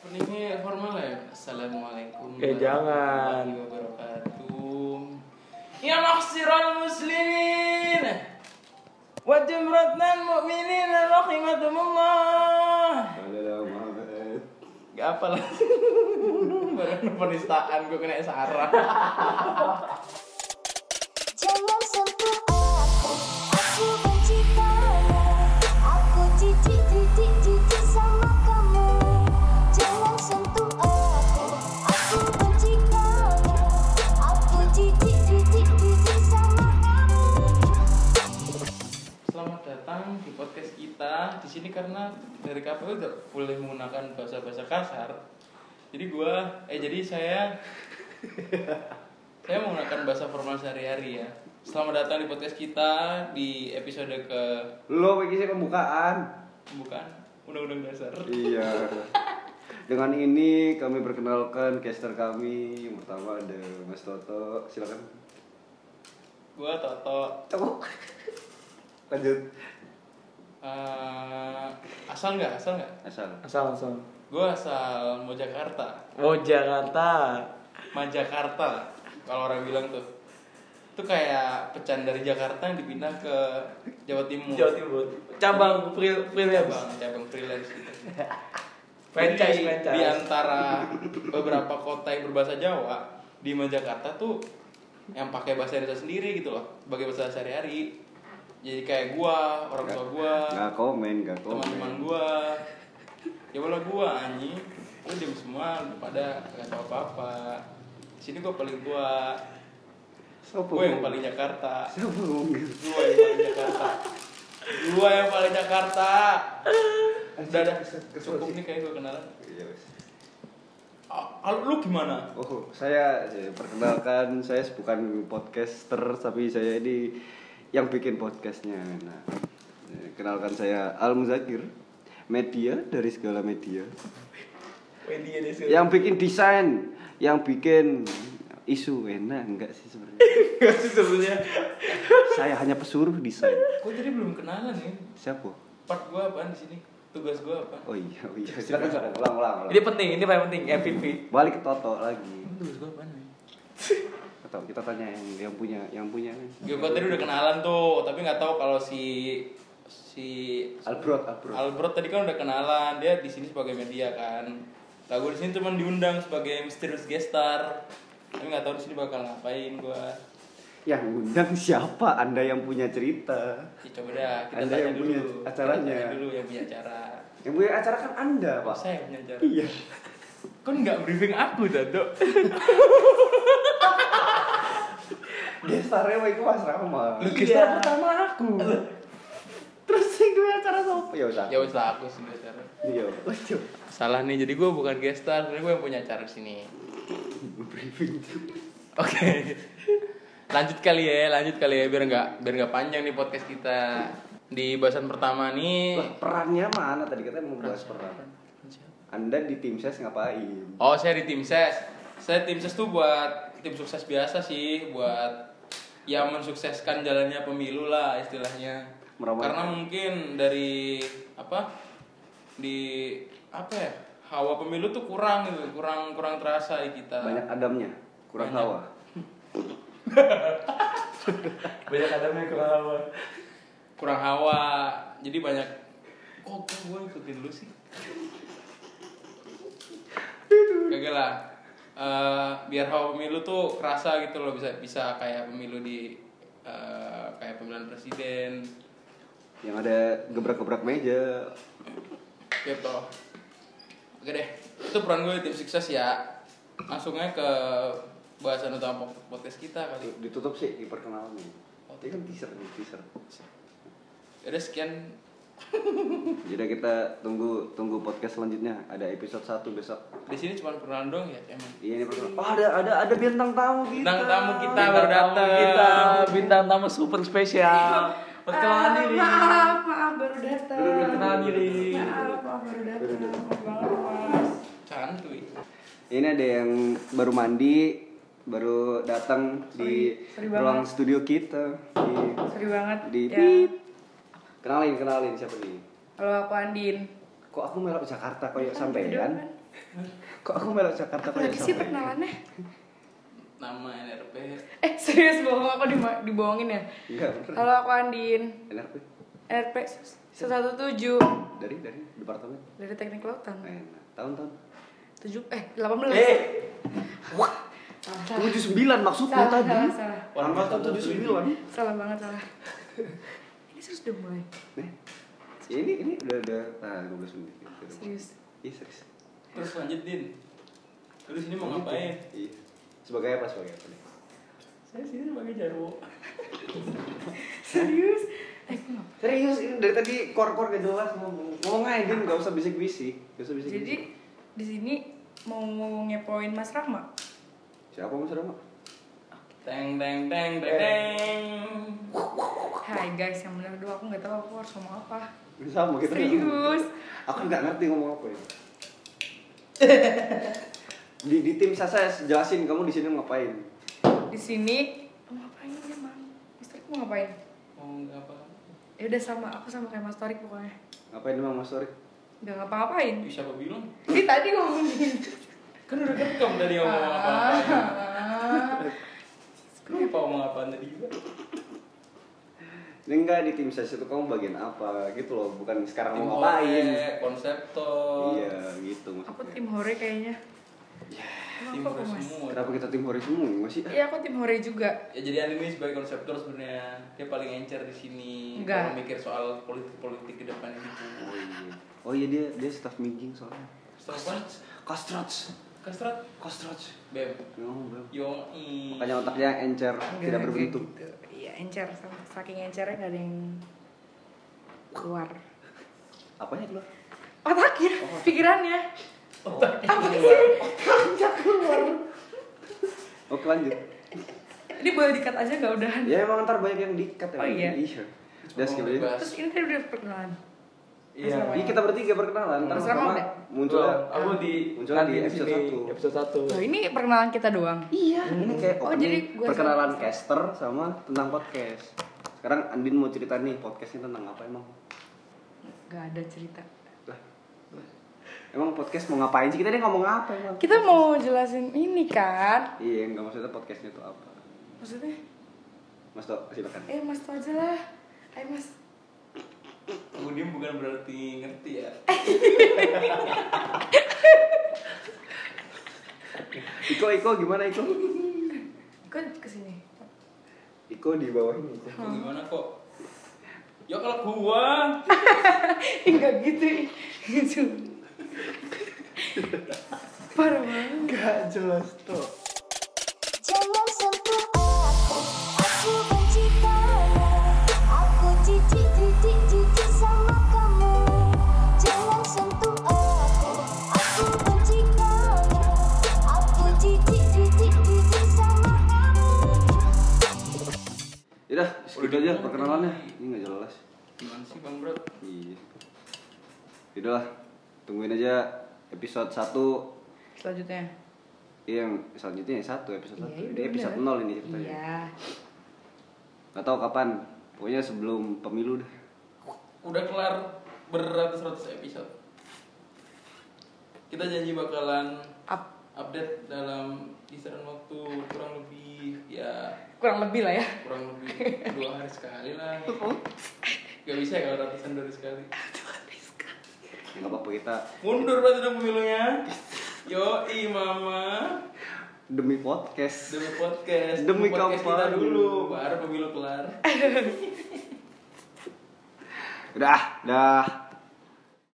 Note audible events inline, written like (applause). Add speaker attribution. Speaker 1: Ini formal ya. Assalamualaikum.
Speaker 2: Eh, jangan.
Speaker 1: warahmatullahi Wabarakatuh. Ya maksiral muslimin. Wa jumratnal mu'minin rahimatumullah. Gak apa lah. (laughs) Baru penistaan gue kena sarah.
Speaker 3: Jangan sentuh aku, aku benci kamu. Aku jijik, jijik, jijik sama kamu. Jangan sentuh aku, aku benci kamu. Aku jijik, jijik, jijik sama kamu.
Speaker 1: Selamat datang di podcast kita. Di sini karena dari KPU tidak boleh menggunakan bahasa-bahasa kasar. Jadi gua eh jadi saya saya menggunakan bahasa formal sehari-hari ya. Selamat datang di podcast kita di episode ke
Speaker 2: Lo bagi saya pembukaan.
Speaker 1: bukan Undang-Undang Dasar.
Speaker 2: Iya. Dengan ini kami perkenalkan caster kami yang pertama ada Mas Toto. Silakan.
Speaker 1: Gua Toto.
Speaker 2: Cok. Lanjut.
Speaker 1: Eh, asal nggak asal nggak?
Speaker 2: Asal.
Speaker 4: Asal asal.
Speaker 1: Gua asal mau Jakarta.
Speaker 4: Oh Jakarta.
Speaker 1: Majakarta kalau orang bilang tuh itu kayak pecahan dari Jakarta yang dipindah ke Jawa Timur Iya,
Speaker 4: Jawa Timur. Cabang free ya,
Speaker 1: cabang cabang freelance gitu.
Speaker 4: Franchise,
Speaker 1: Jadi,
Speaker 4: franchise.
Speaker 1: di antara beberapa kota yang berbahasa Jawa di Majakarta tuh yang pakai bahasa Indonesia sendiri gitu loh sebagai bahasa sehari-hari jadi kayak gua orang tua gua
Speaker 2: Gak komen, gak
Speaker 1: teman-teman
Speaker 2: komen.
Speaker 1: gua ya malah gua anjing lu diem semua lu pada nggak tahu apa-apa sini gua paling gua
Speaker 2: Sopo.
Speaker 1: gua yang paling Jakarta
Speaker 2: Sopo ngomong.
Speaker 1: gua yang paling Jakarta gua yang paling Jakarta udah dah cukup nih kayak gua kenalan
Speaker 2: Iya, wes.
Speaker 1: Ah, kalau lu gimana
Speaker 2: Oh, saya saya perkenalkan saya bukan podcaster tapi saya ini yang bikin podcastnya. Nah, eh, kenalkan saya Al Muzakir, media dari segala media.
Speaker 4: Media desa.
Speaker 1: Ya.
Speaker 4: (laughs)
Speaker 2: Yang bikin desain, yang bikin isu enak enggak sih (laughs) sebenarnya?
Speaker 4: Gak sih sebenarnya.
Speaker 2: saya hanya pesuruh desain.
Speaker 1: gua jadi belum kenalan nih
Speaker 2: Siapa?
Speaker 1: part gua apaan di sini tugas gua apa
Speaker 2: Oh iya, oh iya. Silakan silakan ulang ulang.
Speaker 4: Ini
Speaker 2: ulang.
Speaker 4: penting, ini paling penting MVP.
Speaker 2: Balik ke Toto lagi.
Speaker 1: tugas gua apaan nih
Speaker 2: Toto, kita tanya yang, yang punya, yang punya.
Speaker 1: Gue Ya, tadi udah kenalan tuh, tapi nggak tahu kalau si si
Speaker 2: Albrot, Albrot.
Speaker 1: Albert tadi kan udah kenalan, dia di sini sebagai media kan. Lah gue di sini cuma diundang sebagai mysterious guest star. Tapi nggak tahu di sini bakal ngapain gua.
Speaker 2: Yang undang siapa? Anda yang punya cerita.
Speaker 1: Ya, coba dah kita
Speaker 2: Anda
Speaker 1: tanya
Speaker 2: yang
Speaker 1: dulu.
Speaker 2: punya
Speaker 1: Kita
Speaker 2: acaranya.
Speaker 1: tanya dulu yang punya acara.
Speaker 2: Yang punya acara kan Anda, Pak.
Speaker 1: Saya yang punya acara.
Speaker 2: Iya.
Speaker 1: Kan nggak briefing aku, Dado.
Speaker 2: Gestarnya mah itu Mas Rama.
Speaker 4: Lu
Speaker 2: Gestar
Speaker 4: gestar
Speaker 2: pertama aku. Terus yang punya acara siapa? Ya usah.
Speaker 1: ya wes lah, aku sih punya acara.
Speaker 2: Iya. Wes, yuk.
Speaker 1: Salah nih, jadi gue bukan guest star, tapi gue yang punya acara di sini.
Speaker 2: Briefing.
Speaker 1: Oke. lanjut kali ya, lanjut kali ya biar nggak biar nggak panjang nih podcast kita. Di bahasan pertama nih.
Speaker 2: Lah, perannya mana tadi katanya mau bahas peran. Anda di tim ses ngapain?
Speaker 1: Oh, saya di tim ses. Saya tim ses tuh buat tim sukses biasa sih, buat yang mensukseskan jalannya pemilu lah istilahnya.
Speaker 2: Merawat.
Speaker 1: Karena mungkin dari apa di apa ya hawa pemilu tuh kurang gitu, kurang kurang terasa di kita.
Speaker 2: Banyak adamnya, kurang
Speaker 1: Banyak.
Speaker 2: hawa.
Speaker 4: Banyak adamnya kurang apa.
Speaker 1: kurang hawa jadi banyak oh kok gue ikutin lu sih kagak lah Eh, biar hawa pemilu tuh kerasa gitu loh bisa bisa kayak pemilu di eh, kayak pemilihan presiden
Speaker 2: Yang ada gebrak-gebrak meja.
Speaker 1: gitu oke deh itu peran gue di tim sukses ya langsungnya ke bahasan utama pod- podcast kita kali
Speaker 2: Ditutup sih di perkenalan nih. Oh, kan teaser nih, teaser.
Speaker 1: ada Ya sekian
Speaker 2: Jadi kita tunggu tunggu podcast selanjutnya. Ada episode 1 besok.
Speaker 1: di sini cuma perkenalan dong ya emang
Speaker 2: Iya ini perkenalan. Oh, ada ada ada bintang tamu kita.
Speaker 1: Bintang tamu kita
Speaker 4: Bintang
Speaker 1: baru
Speaker 4: tamu
Speaker 1: datang.
Speaker 4: Kita bintang tamu super
Speaker 1: (laughs)
Speaker 4: spesial. Perkenalan
Speaker 5: Ah,
Speaker 4: diri.
Speaker 5: Maaf, maaf baru datang.
Speaker 4: Perkenalan diri.
Speaker 5: Maaf, maaf baru datang. Maaf banget, Mas.
Speaker 1: santuy
Speaker 2: Ini ada yang baru mandi, baru datang di
Speaker 5: sorry banget.
Speaker 2: ruang studio kita Iya. di
Speaker 5: Sorry banget.
Speaker 2: di
Speaker 5: ya.
Speaker 2: pip. Kenalin, kenalin siapa nih?
Speaker 5: Halo, aku Andin.
Speaker 2: Kok aku melok Jakarta kayak
Speaker 5: Kan
Speaker 2: sampean?
Speaker 5: video
Speaker 2: Kok aku melok Jakarta
Speaker 5: Apa lagi sih perkenalannya?
Speaker 1: Nama NRP.
Speaker 5: Eh (laughs) serius bohong aku dibo- dibohongin ya?
Speaker 2: Iya.
Speaker 5: Halo aku Andin,
Speaker 2: NRP
Speaker 5: RP 117
Speaker 2: dari dari departemen.
Speaker 5: dari Teknik Lautan.
Speaker 2: Enak. Tahun-tahun.
Speaker 5: 7 eh 18.
Speaker 1: Eh,
Speaker 5: Salah,
Speaker 2: 79 maksudnya
Speaker 5: salah, salah,
Speaker 2: tadi.
Speaker 5: salah, salah.
Speaker 2: Orang tahun 79.
Speaker 5: Salah banget salah. (laughs) Ini serius udah mulai.
Speaker 2: Nih. Ini ini udah udah nah 12 menit.
Speaker 5: Serius.
Speaker 2: Iya, serius.
Speaker 1: Terus lanjut Din. Terus ini mau ngapain?
Speaker 2: Iya. Sebagai apa sebagai apa nih?
Speaker 1: Saya sini sebagai jarwo.
Speaker 5: (laughs) Serius? Eh, aku nggak-
Speaker 2: Serius ini dari tadi kor-kor gak jelas ngomong. Ngomong aja Din, gak usah bisik-bisik. Gak usah bisik-bisik.
Speaker 5: Jadi di sini mau ngepoin Mas Rahma.
Speaker 2: siapa Mas Rama?
Speaker 1: Teng teng teng teng teng.
Speaker 5: Hai guys, yang benar dulu aku nggak tahu aku harus ngomong apa.
Speaker 2: Sama kita nggak ngomong.
Speaker 5: Serius.
Speaker 2: Aku nggak ngerti ngomong apa ya. di, di tim saya jelasin kamu di sini ngapain.
Speaker 5: Di sini mau ngapain ya, Mang? Mister mau ngapain?
Speaker 1: Mau nggak apa?
Speaker 5: Ya udah sama, aku sama kayak Mas Torik pokoknya.
Speaker 2: Ngapain emang Mas Torik?
Speaker 5: Gak ngapa-ngapain.
Speaker 1: Ih, siapa bilang?
Speaker 5: Ini tadi ngomong gitu.
Speaker 1: Kan udah kerekam tadi ngomong apa?
Speaker 5: Ah.
Speaker 1: Kenapa ngomong apaan tadi juga?
Speaker 2: Ini enggak di tim saya itu kamu bagian apa gitu loh, bukan sekarang
Speaker 1: Tim
Speaker 2: mau ngapain.
Speaker 1: Ore, konseptor.
Speaker 2: Iya, gitu
Speaker 5: Aku
Speaker 2: maksudnya.
Speaker 5: tim hore kayaknya.
Speaker 1: Ya, Tim Ore
Speaker 5: Kenapa kok, Mas?
Speaker 1: semua.
Speaker 2: Kenapa kita tim hore semua sih?
Speaker 5: Iya, aku tim hore juga.
Speaker 1: Ya jadi Andin ini sebagai konseptor sebenarnya dia paling encer di sini.
Speaker 5: Enggak.
Speaker 1: Kalau mikir soal politik-politik ke depannya gitu.
Speaker 2: Oh iya. Oh iya dia dia staff meeting soalnya.
Speaker 1: Kastrat,
Speaker 2: Kostrats,
Speaker 1: kastrat,
Speaker 2: kostrats.
Speaker 1: bem.
Speaker 2: Ngomong belum.
Speaker 1: Yo, i. (laughs)
Speaker 2: Makanya otaknya encer, tidak
Speaker 5: Enggak,
Speaker 2: berbentuk.
Speaker 5: kayak gitu. Iya, encer. Saking encernya gak ada yang keluar.
Speaker 2: Apanya keluar?
Speaker 5: Otaknya,
Speaker 2: Oh,
Speaker 5: pikirannya. Apa sih?
Speaker 2: Oke lanjut.
Speaker 5: Ini boleh dikat aja nggak udahan?
Speaker 2: Ya emang ntar banyak yang dikat ya.
Speaker 5: Oh, iya.
Speaker 2: Iya. Udah
Speaker 1: Oh,
Speaker 2: skip aja.
Speaker 5: Terus ini tadi udah perkenalan.
Speaker 1: Iya.
Speaker 5: ya?
Speaker 2: Ini kita bertiga perkenalan, ntar
Speaker 5: Mas
Speaker 2: sama
Speaker 5: Rama udah?
Speaker 2: muncul ya?
Speaker 1: aku di
Speaker 2: muncul
Speaker 1: nanti
Speaker 2: di episode
Speaker 1: sini,
Speaker 2: satu.
Speaker 1: Episode satu.
Speaker 5: Loh, Oh, ini perkenalan kita doang.
Speaker 2: Iya, ini kayak
Speaker 5: Oh,
Speaker 2: opening,
Speaker 5: jadi gua
Speaker 2: perkenalan
Speaker 5: salah.
Speaker 2: caster sama tentang podcast. Sekarang Andin mau cerita nih podcastnya tentang apa emang?
Speaker 5: Gak ada cerita.
Speaker 2: Lah, lah. Emang podcast mau ngapain sih? Kita ini ngomong apa emang?
Speaker 5: Kita mau jelasin ini kan.
Speaker 2: Iya, enggak maksudnya podcastnya itu apa?
Speaker 5: Maksudnya,
Speaker 2: Mas Tok, silakan.
Speaker 5: eh mas tau aja lah. Ayo mas.
Speaker 1: Aku diem Oh, bukan berarti ngerti ya.
Speaker 5: Eh.
Speaker 2: Iko, Iko gimana Iko?
Speaker 5: Ikut kesini. (laughs)
Speaker 2: Iko di bawah ini.
Speaker 1: Kok Gimana kok? Ya kalau gua
Speaker 5: Enggak gitu.
Speaker 2: (laughs)
Speaker 5: Gitu. Parah banget.
Speaker 2: Gak jelas Tok.
Speaker 3: Jangan sentuh aku, aku benci kamu. Aku jijik, jijik, jijik sama kamu. Jangan sentuh aku, aku benci kamu. Aku jijik, jijik, jijik sama kamu.
Speaker 2: Yaudah, skip
Speaker 1: Udah
Speaker 2: aja
Speaker 1: dimulai.
Speaker 2: perkenalannya. Ini gak jelas.
Speaker 1: gimana sih Bang Bro?
Speaker 2: Iya. Yaudah lah, tungguin aja episode 1
Speaker 5: Selanjutnya.
Speaker 2: Iya, yang selanjutnya yang satu episode satu. Ini episode
Speaker 5: Iya, bener.
Speaker 2: nol ini ceritanya.
Speaker 5: Iya.
Speaker 2: Gak tau kapan. Pokoknya sebelum pemilu dah.
Speaker 1: Udah kelar beratus-ratus episode. Kita janji bakalan
Speaker 5: Up.
Speaker 1: update dalam kisaran waktu kurang lebih ya
Speaker 5: Kurang lebih lah ya.
Speaker 1: kurang
Speaker 2: (laughs)
Speaker 1: lebih dua hari sekali lah
Speaker 2: Uhuh.
Speaker 1: gak bisa ya kalau ratusan dari sekali
Speaker 2: Ya, Gak apa-apa kita
Speaker 1: mundur berarti dong pemilunya yo i mama
Speaker 2: demi podcast.
Speaker 1: demi podcast
Speaker 2: Demi
Speaker 1: podcast kita
Speaker 2: kampanye.
Speaker 1: dulu baru pemilu kelar
Speaker 2: Udah, dah.